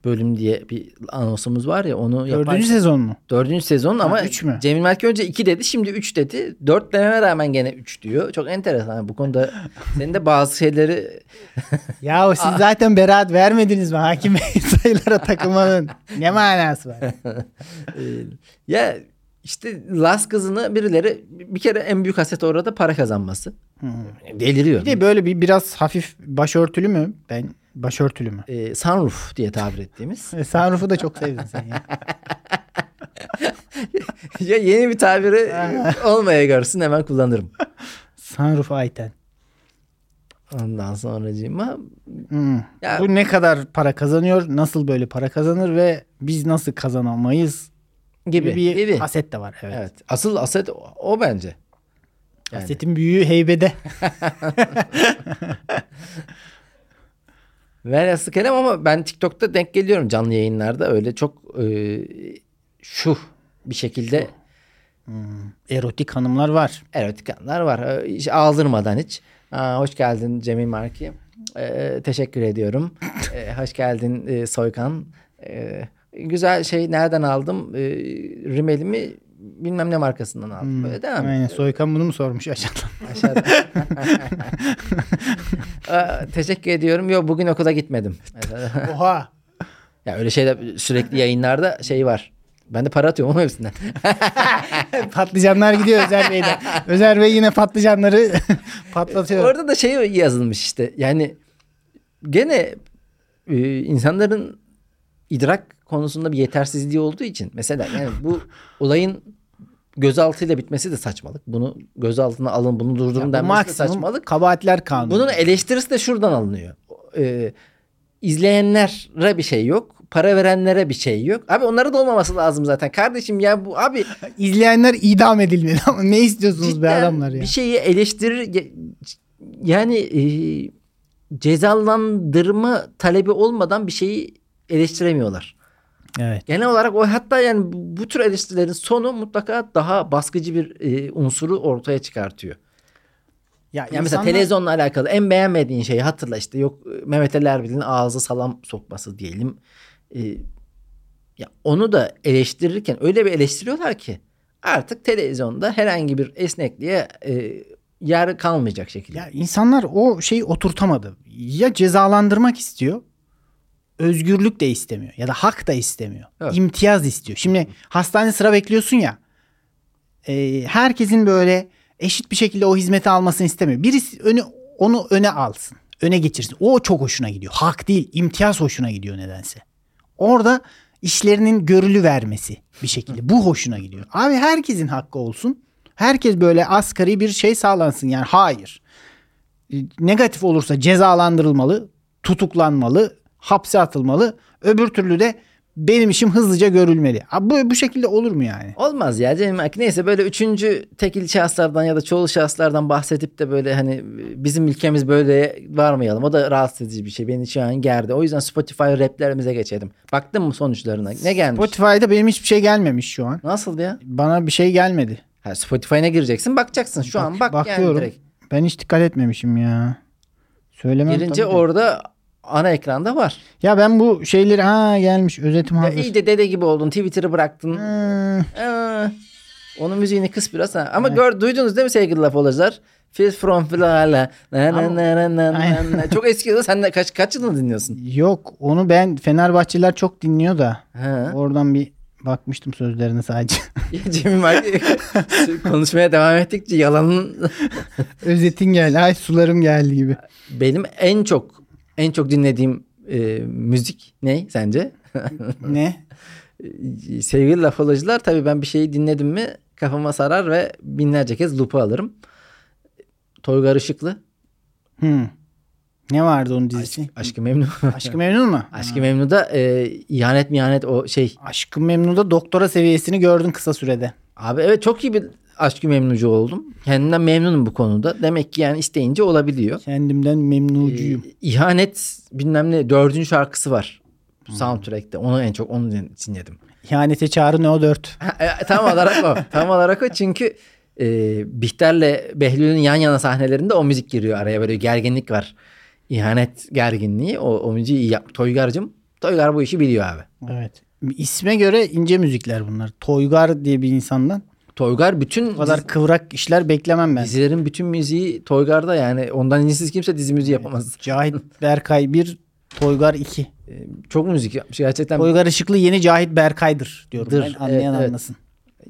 Speaker 1: bölüm diye bir anonsumuz var ya onu yaparken-
Speaker 2: Dördüncü sezon mu?
Speaker 1: Dördüncü sezon ama
Speaker 2: üç mü?
Speaker 1: Cemil Melki önce iki dedi şimdi üç dedi. Dört dememe rağmen gene üç diyor. Çok enteresan bu konuda
Speaker 2: [LAUGHS]
Speaker 1: senin de bazı şeyleri
Speaker 2: Ya siz zaten beraat vermediniz mi hakim bey [LAUGHS] sayılara takılmanın? Ne manası var?
Speaker 1: e, ya işte Las kızını birileri bir kere en büyük haset orada para kazanması. Deliriyor.
Speaker 2: Bir de böyle bir biraz hafif başörtülü mü? Ben başörtülü mü?
Speaker 1: E, sunroof diye tabir ettiğimiz. [LAUGHS]
Speaker 2: [LAUGHS] E, Sunroof'u da çok sevdin sen ya.
Speaker 1: ya yeni bir tabiri olmaya görsün hemen kullanırım.
Speaker 2: [LAUGHS] Sunroof Ayten.
Speaker 1: Ondan sonracığıma
Speaker 2: Hmm.
Speaker 1: Ya-
Speaker 2: Bu ne kadar para kazanıyor? Nasıl böyle para kazanır ve biz nasıl kazanamayız? Gibi,
Speaker 1: gibi
Speaker 2: bir
Speaker 1: gibi.
Speaker 2: haset de var. Evet.
Speaker 1: Evet. Asıl aset o, o bence. yani.
Speaker 2: Hasetin büyüğü heybede.
Speaker 1: Velhasıl kelam ama ben TikTok'ta denk geliyorum canlı yayınlarda. Öyle çok e, şu bir şekilde
Speaker 2: Erotik hanımlar var.
Speaker 1: erotik anlar var. E, Hiç aldırmadan hiç. Aa, hoş geldin Cemil Marki. E, teşekkür ediyorum. E, hoş geldin e, Soykan. E, güzel şey nereden aldım? E, rimelimi bilmem ne markasından aldım. Böyle devam.
Speaker 2: Aynen. Soykan bunu mu sormuş aşağıdan?
Speaker 1: Aşağıda. [LAUGHS] Aa, teşekkür ediyorum. Yok bugün okula gitmedim. Mesela.
Speaker 2: [LAUGHS] Oha.
Speaker 1: Ya öyle şeyler sürekli yayınlarda şey var. Ben de para atıyorum ama hepsinden.
Speaker 2: Patlıcanlar gidiyor Özer [LAUGHS] Bey'den. Özer Bey yine patlıcanları [LAUGHS] patlatıyor.
Speaker 1: Orada da şey yazılmış işte. Yani gene e, insanların idrak konusunda bir yetersizliği olduğu için mesela yani
Speaker 2: [LAUGHS]
Speaker 1: bu olayın gözaltıyla bitmesi de saçmalık. Bunu gözaltına alın, bunu
Speaker 2: Ya bu
Speaker 1: durdurun denmesi de
Speaker 2: maksimum
Speaker 1: saçmalık.
Speaker 2: kabahatler kanunu.
Speaker 1: Bunun eleştirisi de şuradan alınıyor. O- e, izleyenlere bir şey yok. Para verenlere bir şey yok. Abi onlara da olmaması lazım zaten. Kardeşim ya bu abi
Speaker 2: İzleyenler idam edilmeli [LAUGHS] ama ne istiyorsunuz be
Speaker 1: cidden
Speaker 2: adamlar ya?
Speaker 1: bir şeyi eleştirir ge- yani e, cezalandırma talebi olmadan bir şeyi eleştiremiyorlar.
Speaker 2: Evet.
Speaker 1: Genel olarak o hatta yani bu bu tür eleştirilerin sonu mutlaka daha baskıcı bir e, unsuru ortaya çıkartıyor.
Speaker 2: Ya
Speaker 1: Yani mesela
Speaker 2: insanlar-
Speaker 1: televizyonla alakalı en beğenmediğin şeyi hatırla işte yok Mehmet Ali Erbil'in ağza salam sokması diyelim. Ee, ya onu da eleştirirken öyle bir eleştiriyorlar ki artık televizyonda herhangi bir esnekliğe e, yer kalmayacak şekilde.
Speaker 2: Ya insanlar o şeyi oturtamadı. Ya cezalandırmak istiyor, özgürlük de istemiyor ya da hak da istemiyor.
Speaker 1: Evet.
Speaker 2: İmtiyaz istiyor. Şimdi hastane sıra bekliyorsun ya. e, herkesin böyle eşit bir şekilde o hizmeti almasını istemiyor. Birisi önü onu öne alsın. Öne geçirsin. O çok hoşuna gidiyor. Hak değil, imtiyaz hoşuna gidiyor nedense. Orada işlerinin görülü vermesi bir şekilde. Bu hoşuna gidiyor. Abi herkesin hakkı olsun. Herkes böyle asgari bir şey sağlansın. Yani hayır. E, Negatif olursa cezalandırılmalı, tutuklanmalı, hapse atılmalı. Öbür türlü de benim işim hızlıca görülmeli. Abi bu, bu şekilde olur mu yani?
Speaker 1: Olmaz ya Cemil Ak. Neyse böyle üçüncü tekil şahıslardan ya da çoğul şahıslardan bahsedip de böyle hani bizim ülkemiz böyle varmayalım. O da rahatsız edici bir şey. Beni şu an gerdi. O yüzden Spotify raplerimize geçelim. Baktın mı sonuçlarına? Ne gelmiş?
Speaker 2: Spotify'da benim hiçbir şey gelmemiş şu an.
Speaker 1: Nasıl ya?
Speaker 2: Bana bir şey gelmedi.
Speaker 1: Ha, Spotify'ına gireceksin bakacaksın. Şu an bak yani
Speaker 2: Bakıyorum.
Speaker 1: direkt.
Speaker 2: ben hiç dikkat etmemişim ya. Söylemem
Speaker 1: Girince
Speaker 2: tabii de.
Speaker 1: orada ana ekranda var.
Speaker 2: Ya ben bu şeyleri ha gelmiş özetim
Speaker 1: Ya
Speaker 2: hazır.
Speaker 1: iyice dede gibi oldun. Twitter'ı bıraktın.
Speaker 2: Hmm,
Speaker 1: Ee, onun müziğini kıs biraz. Ha. Ama gör, duydunuz değil mi sevgili laf olacaklar? Feel from Filala. Na na
Speaker 2: Ama-
Speaker 1: na na na na
Speaker 2: Aynen.
Speaker 1: na. Çok eski yılda sen de kaç, kaç yılını dinliyorsun?
Speaker 2: Yok onu ben Fenerbahçeliler çok dinliyor da
Speaker 1: Ha.
Speaker 2: oradan bir bakmıştım sözlerine sadece.
Speaker 1: [LAUGHS]
Speaker 2: [LAUGHS]
Speaker 1: Cemil Maki konuşmaya devam ettikçe yalanın
Speaker 2: Özetin geldi. Ay sularım geldi gibi.
Speaker 1: benim en çok en çok dinlediğim e, müzik ne sence?
Speaker 2: ne?
Speaker 1: Ee, sevgili lafolojlar tabii ben bir şeyi dinledim mi kafama sarar ve binlerce kez loop'u alırım. Toygar Işıklı.
Speaker 2: Hmm. Ne vardı onun dizisi?
Speaker 1: Aşkı Memnu. [LAUGHS]
Speaker 2: Aşkı Memnun mu?
Speaker 1: Aşkı Memnu'da e, ihanet mihanet o şey.
Speaker 2: Aşkı Memnun'da doktora seviyesini gördün kısa sürede.
Speaker 1: Abi evet çok iyi bir Aşkı Memnucu oldum. Kendimden memnunum bu konuda. Demek ki yani isteyince olabiliyor.
Speaker 2: Kendimden memnucuyum.
Speaker 1: Ee, ihanet bilmem ne dördüncü şarkısı var. Soundtrack'te. Onu en çok onu din- dinledim.
Speaker 2: İhanete çağrı ne o dört.
Speaker 1: Ha, e, tam olarak o. Tam olarak o çünkü e, Bihter'le Behlül'ün yan yana sahnelerinde o müzik giriyor araya böyle gerginlik var. İhanet gerginliği o, o müziği iyi yap. Toygar'cım Toygar bu işi biliyor abi.
Speaker 2: Evet. İsme göre ince müzikler bunlar. Toygar diye bir insandan
Speaker 1: Toygar bütün
Speaker 2: bu kadar
Speaker 1: diz-
Speaker 2: kıvrak işler beklemem ben.
Speaker 1: dizilerin bütün müziği Toygar'da yani ondan incisiz kimse dizi müziği yapamaz.
Speaker 2: Cahit Berkay 1, Toygar 2.
Speaker 1: E, Çok müzik yapmış gerçekten.
Speaker 2: Toygar Işıklı yeni Cahit Berkay'dır diyorum.
Speaker 1: Dır,
Speaker 2: ben anlayan
Speaker 1: evet, evet.
Speaker 2: anlasın.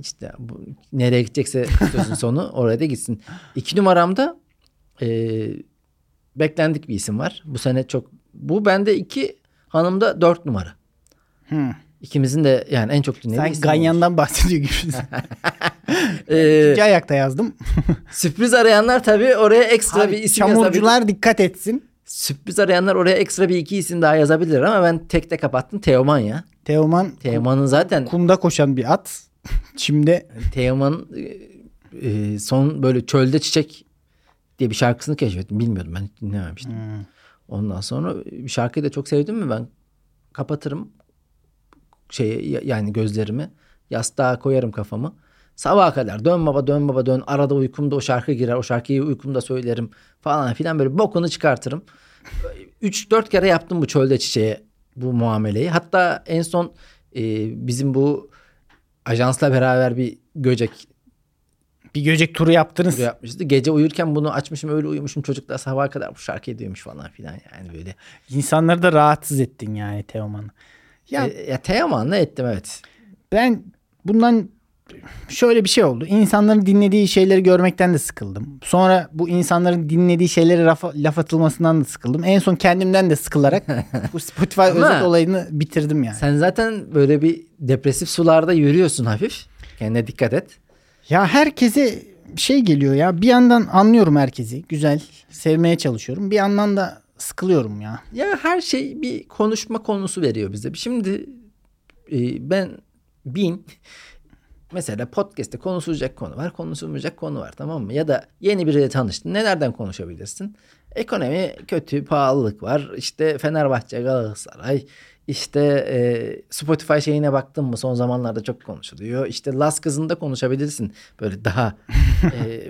Speaker 1: İşte bu, nereye gidecekse sözün
Speaker 2: [LAUGHS]
Speaker 1: sonu oraya da gitsin. İki numaramda e, beklendik bir isim var. Bu sene çok. Bu bende iki hanımda dört numara.
Speaker 2: Hmm.
Speaker 1: İkimizin de yani en çok dinlediği isim
Speaker 2: Sen
Speaker 1: olmuş.
Speaker 2: Ganyan'dan bahsediyor
Speaker 1: [LAUGHS]
Speaker 2: gibisin.
Speaker 1: Ee,
Speaker 2: İki ayakta yazdım.
Speaker 1: sürpriz arayanlar tabii oraya ekstra
Speaker 2: Abi,
Speaker 1: bir isim yazabilir.
Speaker 2: çamurcular dikkat etsin.
Speaker 1: Sürpriz arayanlar oraya ekstra bir iki isim daha yazabilir ama ben tekte kapattım. Teoman ya.
Speaker 2: Teoman
Speaker 1: Teoman'ın zaten
Speaker 2: kumda koşan bir at. [LAUGHS] Çimde
Speaker 1: Teoman e, e, son böyle çölde çiçek diye bir şarkısını keşfettim. Bilmiyordum ben hiç dinlememiştim.
Speaker 2: Hmm.
Speaker 1: Ondan sonra bir şarkıyı da çok sevdim mi ben kapatırım şeyi ya- yani gözlerimi yastığa koyarım kafamı. Sabaha kadar dön baba dön baba dön arada uykumda o şarkı girer o şarkıyı uykumda söylerim falan filan böyle bokunu çıkartırım. 3-4 kere yaptım bu çölde çiçeğe bu muameleyi. Hatta en son e, bizim bu ajansla beraber bir göcek
Speaker 2: bir göcek turu yaptınız.
Speaker 1: turu yapmıştı. Gece uyurken bunu açmışım öyle uyumuşum çocuklar sabaha kadar bu şarkıyı duymuş falan filan yani böyle.
Speaker 2: İnsanları da rahatsız ettin yani Teoman'ı. Ya
Speaker 1: Ya, E, ya Teoman'la ettim evet.
Speaker 2: ben bundan şöyle bir şey oldu. İnsanların dinlediği şeyleri görmekten de sıkıldım. Sonra bu insanların dinlediği şeylere rafa- laf atılmasından da sıkıldım. En son kendimden
Speaker 1: [LAUGHS]
Speaker 2: de sıkılarak bu Spotify
Speaker 1: Ama-
Speaker 2: özet olayını bitirdim yani.
Speaker 1: Sen zaten böyle bir depresif sularda yürüyorsun hafif. Kendine dikkat et.
Speaker 2: Ya herkese şey geliyor ya. Bir yandan anlıyorum herkesi. Güzel. Sevmeye çalışıyorum. Bir yandan da sıkılıyorum ya.
Speaker 1: Ya her şey bir konuşma konusu veriyor bize. Şimdi e, ben bin mesela podcast'te konuşulacak konu var, konuşulmayacak konu var tamam mı? Ya da yeni biriyle tanıştın. Nelerden konuşabilirsin? Ekonomi kötü, pahalılık var. İşte Fenerbahçe, Galatasaray. İşte e, Spotify şeyine baktın mı son zamanlarda çok konuşuluyor. İşte Las kızında konuşabilirsin. Böyle daha
Speaker 2: [LAUGHS]
Speaker 1: e,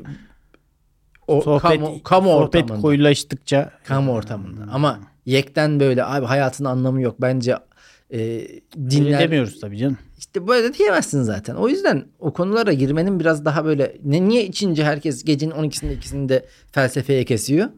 Speaker 1: o
Speaker 2: Sohbet,
Speaker 1: kamu, kamu
Speaker 2: sohbet
Speaker 1: ortamında.
Speaker 2: koyulaştıkça Hmm.
Speaker 1: Kamu ortamında. Ama yekten böyle abi hayatın anlamı yok. Bence e,
Speaker 2: dinlemiyoruz
Speaker 1: dinler
Speaker 2: tabii canım.
Speaker 1: işte böyle diyemezsin zaten. O yüzden o konulara girmenin biraz daha böyle ne niye içince herkes gecenin 12'sinde ikisinde felsefeye kesiyor.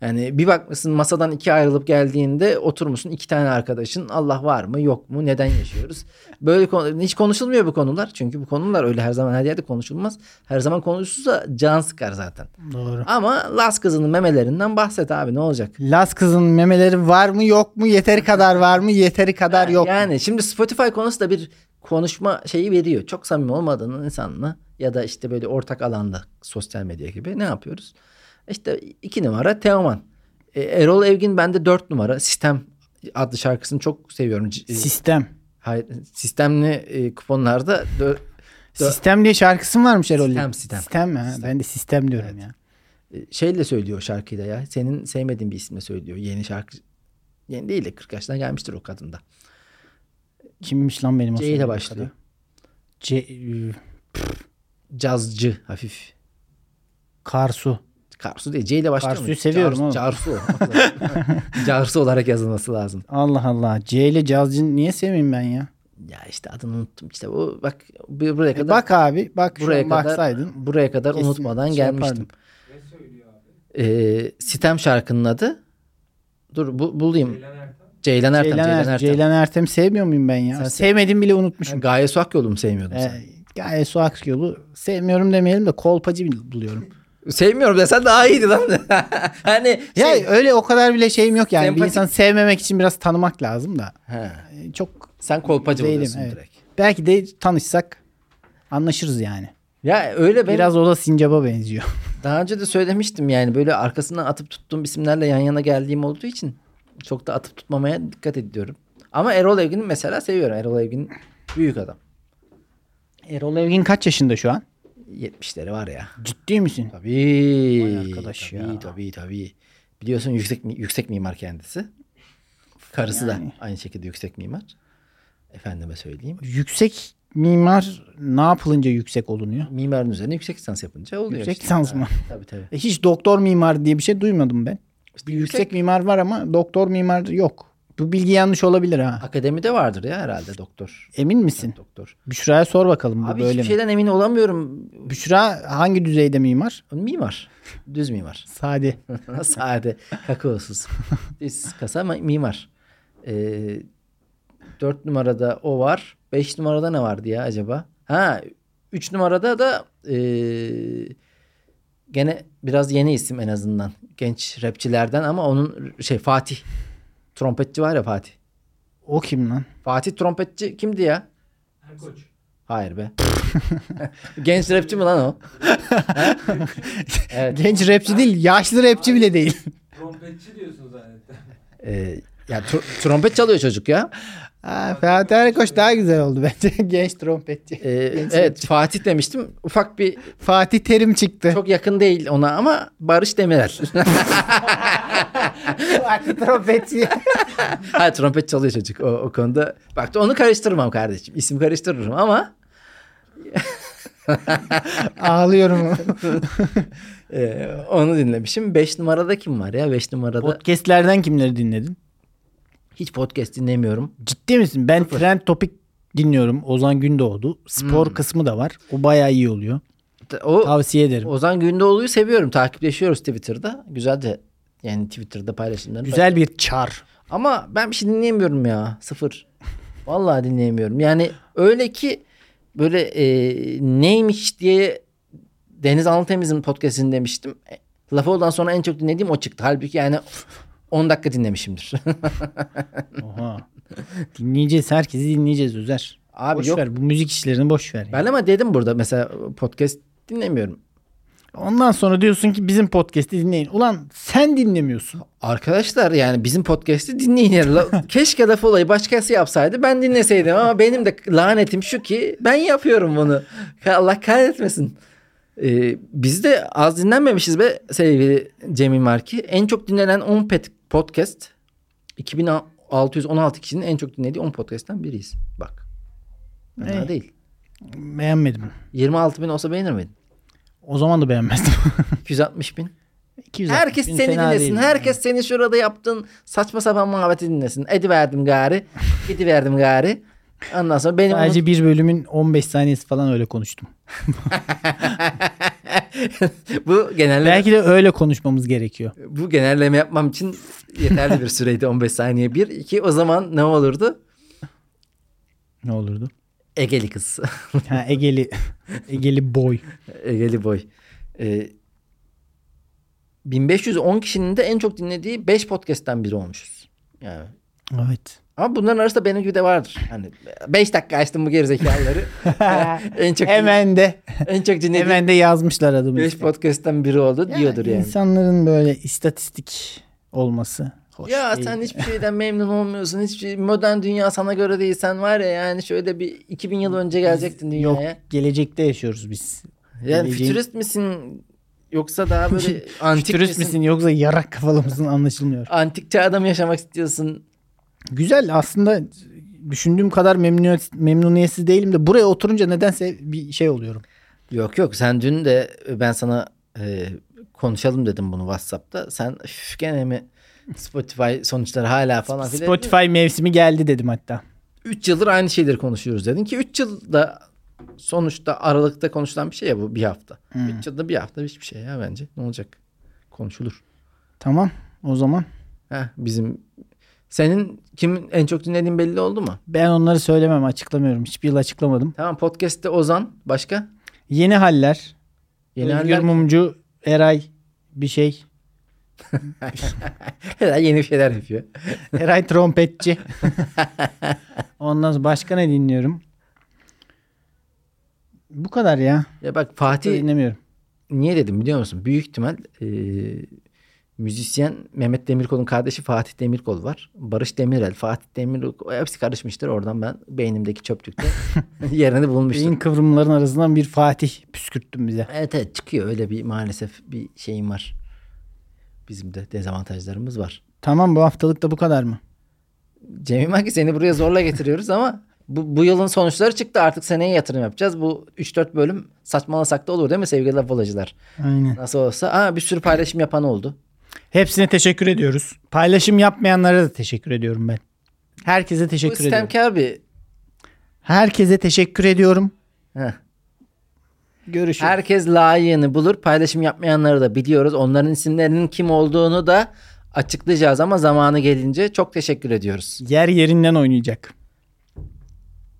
Speaker 1: Yani bir bakmışsın masadan iki ayrılıp geldiğinde oturmuşsun iki tane arkadaşın Allah var mı yok mu neden yaşıyoruz? Böyle konu, hiç konuşulmuyor bu konular. Çünkü bu konular öyle her zaman her yerde konuşulmaz. Her zaman konuşulsa can sıkar zaten.
Speaker 2: Doğru.
Speaker 1: Ama Las kızının memelerinden bahset abi ne olacak?
Speaker 2: Las kızın memeleri var mı yok mu? Yeteri kadar var mı? Yeteri kadar yok. mu?
Speaker 1: Yani şimdi Spotify konusu da bir konuşma şeyi veriyor. Çok samimi olmadığın insanla ya da işte böyle ortak alanda sosyal medya gibi ne yapıyoruz? İşte iki numara Teoman. E, Erol Evgin bende dört numara. Sistem adlı şarkısını çok seviyorum. C- e,
Speaker 2: Sistem.
Speaker 1: hay- sistemli e, kuponlarda dö- Dö-
Speaker 2: Sistem diye şarkısın varmış Erol'ün.
Speaker 1: Sistem, sistem.
Speaker 2: mi? Ha, Ben de sistem diyorum ya.
Speaker 1: e, şeyle söylüyor şarkıyı da ya. Senin sevmediğin bir isimle söylüyor. Yeni şarkı. Yeni değil de 40 yaşına gelmiştir o kadında.
Speaker 2: Kimmiş lan benim o
Speaker 1: C ile
Speaker 2: söylediğim
Speaker 1: başlıyor.
Speaker 2: kadın? C, e,
Speaker 1: Cazcı hafif.
Speaker 2: Karsu.
Speaker 1: Karsu değil. C ile başlıyor
Speaker 2: Karsu'yu seviyorum oğlum.
Speaker 1: Carsu.
Speaker 2: [LAUGHS]
Speaker 1: [LAUGHS] Carsu olarak yazılması lazım.
Speaker 2: Allah Allah. C ile cazcın niye sevmeyeyim ben ya?
Speaker 1: Ya işte adını unuttum. İşte bu bak bu- buraya
Speaker 2: E
Speaker 1: kadar
Speaker 2: bak abi bak
Speaker 1: buraya
Speaker 2: buraya
Speaker 1: kadar
Speaker 2: baksaydın.
Speaker 1: buraya kadar
Speaker 2: kesin
Speaker 1: unutmadan
Speaker 2: şey
Speaker 1: gelmiştim.
Speaker 2: yapardım.
Speaker 1: Ee, sitem şarkının adı. Dur bu, bulayım. Ceylan Ertem.
Speaker 2: Ceylan,
Speaker 1: Ceylan Ertem.
Speaker 2: Ertem. Ceylan Ertem sevmiyor muyum ben ya?
Speaker 1: Sen-
Speaker 2: Sevmedim bile unutmuşum.
Speaker 1: Gaye Suak yolu mu sevmiyordun
Speaker 2: Ee,
Speaker 1: sen?
Speaker 2: Gaye Su Akyol'u sevmiyorum demeyelim de kolpacı bil- [LAUGHS] buluyorum.
Speaker 1: Sevmiyorum desen daha iyiydi lan. [LAUGHS] hani
Speaker 2: Ya
Speaker 1: şey-
Speaker 2: öyle o kadar bile şeyim yok yani. Bir
Speaker 1: Sempatik-
Speaker 2: insan sevmemek için biraz tanımak lazım da.
Speaker 1: He,
Speaker 2: Ee, Çok
Speaker 1: sen kolpacı
Speaker 2: değilim,
Speaker 1: oluyorsun
Speaker 2: evet.
Speaker 1: direkt.
Speaker 2: belki de tanışsak anlaşırız yani.
Speaker 1: Ya öyle benim
Speaker 2: Biraz o da sincaba benziyor.
Speaker 1: Daha önce de söylemiştim yani böyle arkasından atıp tuttuğum isimlerle yan yana geldiğim olduğu için çok da atıp tutmamaya dikkat ediyorum. Ama Erol Evgin'i mesela seviyorum. Erol Evgin büyük adam.
Speaker 2: [LAUGHS] Erol Evgin kaç yaşında şu an?
Speaker 1: 70'leri var ya.
Speaker 2: Ciddi misin?
Speaker 1: Tabii.
Speaker 2: Vay arkadaş
Speaker 1: tabii,
Speaker 2: ya.
Speaker 1: Tabii tabii. Biliyorsun yüksek mi- yüksek mimar kendisi. Karısı
Speaker 2: Yani.
Speaker 1: da aynı şekilde yüksek mimar. Efendime söyleyeyim.
Speaker 2: Yüksek mimar ne yapılınca yüksek olunuyor?
Speaker 1: Mimarın üzerine yüksek lisans yapınca oluyor.
Speaker 2: Yüksek
Speaker 1: işte.
Speaker 2: lisans
Speaker 1: Ha,
Speaker 2: mı?
Speaker 1: Tabii tabii.
Speaker 2: E, hiç doktor mimar diye bir şey duymadım ben.
Speaker 1: İşte
Speaker 2: yüksek,
Speaker 1: yüksek,
Speaker 2: mimar var ama doktor mimar yok. Bu bilgi yanlış olabilir ha.
Speaker 1: akademide vardır ya herhalde doktor.
Speaker 2: Emin misin?
Speaker 1: Doktor.
Speaker 2: Büşra'ya sor bakalım bu
Speaker 1: Abi
Speaker 2: böyle
Speaker 1: hiçbir
Speaker 2: mi?
Speaker 1: şeyden emin olamıyorum.
Speaker 2: Büşra hangi düzeyde mimar?
Speaker 1: Mimar. Düz mimar.
Speaker 2: [LAUGHS] Sade.
Speaker 1: Sade. Kakaosuz. Düz kasa ama mimar. Ee, dört numarada o var. Beş numarada ne vardı ya acaba? Ha. Üç numarada da ee, gene biraz yeni isim en azından. Genç rapçilerden ama onun şey Fatih. Trompetçi var ya Fatih.
Speaker 2: O kim lan?
Speaker 1: Fatih trompetçi kimdi ya? Erkoç. Hayır be. Genç rapçi mi lan o? Ha? evet.
Speaker 2: Genç rapçi değil, yaşlı rapçi bile değil.
Speaker 3: Trompetçi diyorsun zannettim.
Speaker 1: Ee, ya tr- trompet çalıyor çocuk ya.
Speaker 2: Ha, Ferhat Erkoç daha güzel oldu bence. [LAUGHS] Genç trompetçi.
Speaker 1: Ee, evet Fatih demiştim. Ufak bir
Speaker 2: Fatih Terim çıktı.
Speaker 1: çok yakın değil ona ama Barış Demirel. [LAUGHS]
Speaker 2: Fatih trompetçi.
Speaker 1: ha trompet çalıyor çocuk o, o konuda. Bak onu karıştırmam kardeşim. İsim karıştırırım ama
Speaker 2: [LAUGHS] Ağlıyorum.
Speaker 1: e, onu dinlemişim. 5 numarada kim var ya? 5 numarada
Speaker 2: Podcast'lerden kimleri dinledin?
Speaker 1: hiç podcast dinlemiyorum.
Speaker 2: Ciddi misin? Ben Trend Topic dinliyorum. Ozan Gündoğdu.
Speaker 1: Hmm.
Speaker 2: Spor kısmı da var. O bayağı iyi oluyor.
Speaker 1: O
Speaker 2: Tavsiye ederim.
Speaker 1: Ozan Gündoğdu'yu seviyorum. Takipleşiyoruz Twitter'da. Güzel de yani Twitter'da paylaşımları.
Speaker 2: Güzel bir çar.
Speaker 1: Ama ben bir şey dinleyemiyorum ya. Sıfır. Vallahi dinleyemiyorum. Yani öyle ki böyle e, neymiş diye Deniz Anlatemiz'in podcastini demiştim. E, Lafı olan sonra en çok dinlediğim o çıktı. Halbuki yani 10 dakika dinlemişimdir. [LAUGHS]
Speaker 2: Oha. dinleyeceğiz. Herkesi dinleyeceğiz Özer.
Speaker 1: Abi
Speaker 2: boş
Speaker 1: yok.
Speaker 2: ver. Bu müzik işlerini boş ver. ya.
Speaker 1: Ben ama dedim burada mesela podcast dinlemiyorum.
Speaker 2: Ondan sonra diyorsun ki bizim podcast'i dinleyin. Ulan sen dinlemiyorsun.
Speaker 1: Arkadaşlar yani bizim podcast'i dinleyin. ya. La- Keşke laf olayı başkası yapsaydı ben dinleseydim ama benim de lanetim şu ki ben yapıyorum bunu. Allah kahretmesin. Ee, biz de az dinlenmemişiz be sevgili Cemil Marki. En çok dinlenen 10 pet podcast 2616 kişinin en çok dinlediği 10 podcast'ten biriyiz. Bak. Fena
Speaker 2: Ey.
Speaker 1: değil.
Speaker 2: Beğenmedim.
Speaker 1: 26 bin olsa beğenir miydin?
Speaker 2: O zaman da beğenmezdim. [LAUGHS]
Speaker 1: 260 bin.
Speaker 2: 260
Speaker 1: Herkes
Speaker 2: bin
Speaker 1: seni
Speaker 2: fena
Speaker 1: dinlesin.
Speaker 2: değil.
Speaker 1: Herkes seni şurada yaptığın saçma sapan muhabbeti dinlesin. Ediverdim gari.
Speaker 2: [LAUGHS]
Speaker 1: Gidiverdim gari. Ondan sonra benim
Speaker 2: Sadece bir bölümün 15 saniyesi falan öyle konuştum.
Speaker 1: [LAUGHS] bu genelleme
Speaker 2: Belki de öyle konuşmamız gerekiyor.
Speaker 1: bu genelleme yapmam için yeterli bir süreydi [LAUGHS] 15 saniye. Bir, iki o zaman ne olurdu? [LAUGHS]
Speaker 2: Ne olurdu?
Speaker 1: Egeli kız. [LAUGHS]
Speaker 2: Ha, Egeli Egeli boy.
Speaker 1: Egeli boy. Ee, 1510 kişinin de en çok dinlediği 5 podcast'ten biri olmuşuz. Yani
Speaker 2: Evet.
Speaker 1: Ama bunların arasında benim gibi de vardır. Hani 5 dakika açtım bu
Speaker 2: [LAUGHS]
Speaker 1: gerizekalıları. [LAUGHS] en çok
Speaker 2: Hemen de
Speaker 1: en çok dinlediğim
Speaker 2: hemen de yazmışlar adımı.
Speaker 1: 5
Speaker 2: işte.
Speaker 1: podcast'ten biri oldu diyordur yani.
Speaker 2: İnsanların böyle istatistik olması hoş.
Speaker 1: Ya
Speaker 2: değil.
Speaker 1: sen hiçbir şeyden memnun olmuyorsun. Hiçbir şey, modern dünya sana göre değil. Sen var ya yani şöyle bir 2000 yıl önce gelecektin
Speaker 2: Yok
Speaker 1: dünyaya.
Speaker 2: gelecekte yaşıyoruz biz.
Speaker 1: yani
Speaker 2: geleceğin-
Speaker 1: fütürist misin? Yoksa daha [LAUGHS] böyle antik
Speaker 2: Turist misin yoksa yarak kafalı mısın anlaşılmıyor.
Speaker 1: Antik çağda mı yaşamak istiyorsun?
Speaker 2: Güzel aslında düşündüğüm kadar memnuniyet, memnuniyetsiz değilim de buraya oturunca nedense bir şey oluyorum.
Speaker 1: Yok yok sen dün de ben sana e, konuşalım dedim bunu Whatsapp'ta. Sen "Üf, gene mi Spotify sonuçları hala falan filan.
Speaker 2: Spotify mevsimi geldi dedim hatta.
Speaker 1: 3 yıldır aynı şeyleri konuşuyoruz dedin ki 3 yılda sonuçta aralıkta konuşulan bir şey ya bu bir hafta. 3 yılda bir hafta hiçbir şey ya bence. Ne olacak? Konuşulur.
Speaker 2: Tamam o zaman.
Speaker 1: Heh, bizim senin kimin en çok dinlediğin belli oldu mu?
Speaker 2: Ben onları söylemem açıklamıyorum. Hiçbir yıl açıklamadım.
Speaker 1: Tamam podcast'te Ozan başka?
Speaker 2: Yeni haller.
Speaker 1: Yeni
Speaker 2: Yeni Özgür
Speaker 1: haller-
Speaker 2: Mumcu, Eray bir [LAUGHS] şey.
Speaker 1: [LAUGHS] Herhalde yeni bir şeyler yapıyor.
Speaker 2: Eray trompetçi. Ondan sonra başka ne dinliyorum? Bu kadar ya.
Speaker 1: Ya bak
Speaker 2: Çok da
Speaker 1: Fatih
Speaker 2: dinlemiyorum.
Speaker 1: niye dedim biliyor musun? Büyük ihtimal e, müzisyen Mehmet Demirkol'un kardeşi Fatih Demirkol var. Barış Demirel, Fatih Demirkol hepsi karışmıştır. Oradan ben beynimdeki çöplükte yerini bulmuştum.
Speaker 2: Beyin kıvrımların arasından bir Fatih püskürttün bize.
Speaker 1: Evet evet çıkıyor öyle bir maalesef bir şeyim var. Bizim de dezavantajlarımız var.
Speaker 2: Tamam bu haftalık da bu kadar mı?
Speaker 1: Cemil Maki seni buraya zorla getiriyoruz ama bu, bu yılın sonuçları çıktı artık seneye yatırım yapacağız. Bu 3-4 bölüm saçmalasak da olur değil mi sevgili lafolacılar?
Speaker 2: Aynen.
Speaker 1: Nasıl olsa aa, bir sürü paylaşım yapan oldu.
Speaker 2: Hepsine teşekkür ediyoruz. Paylaşım yapmayanlara da teşekkür ediyorum ben. Herkese
Speaker 1: Bu
Speaker 2: teşekkür ediyorum.
Speaker 1: istemkar bir
Speaker 2: Herkese teşekkür ediyorum.
Speaker 1: Heh.
Speaker 2: Görüşürüz.
Speaker 1: herkes layığını bulur. Paylaşım yapmayanları da biliyoruz. Onların isimlerinin kim olduğunu da açıklayacağız ama zamanı gelince çok teşekkür ediyoruz.
Speaker 2: Yer yerinden oynayacak.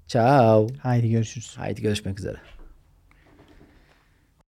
Speaker 1: Ciao.
Speaker 2: Haydi görüşürüz.
Speaker 1: Haydi görüşmek üzere.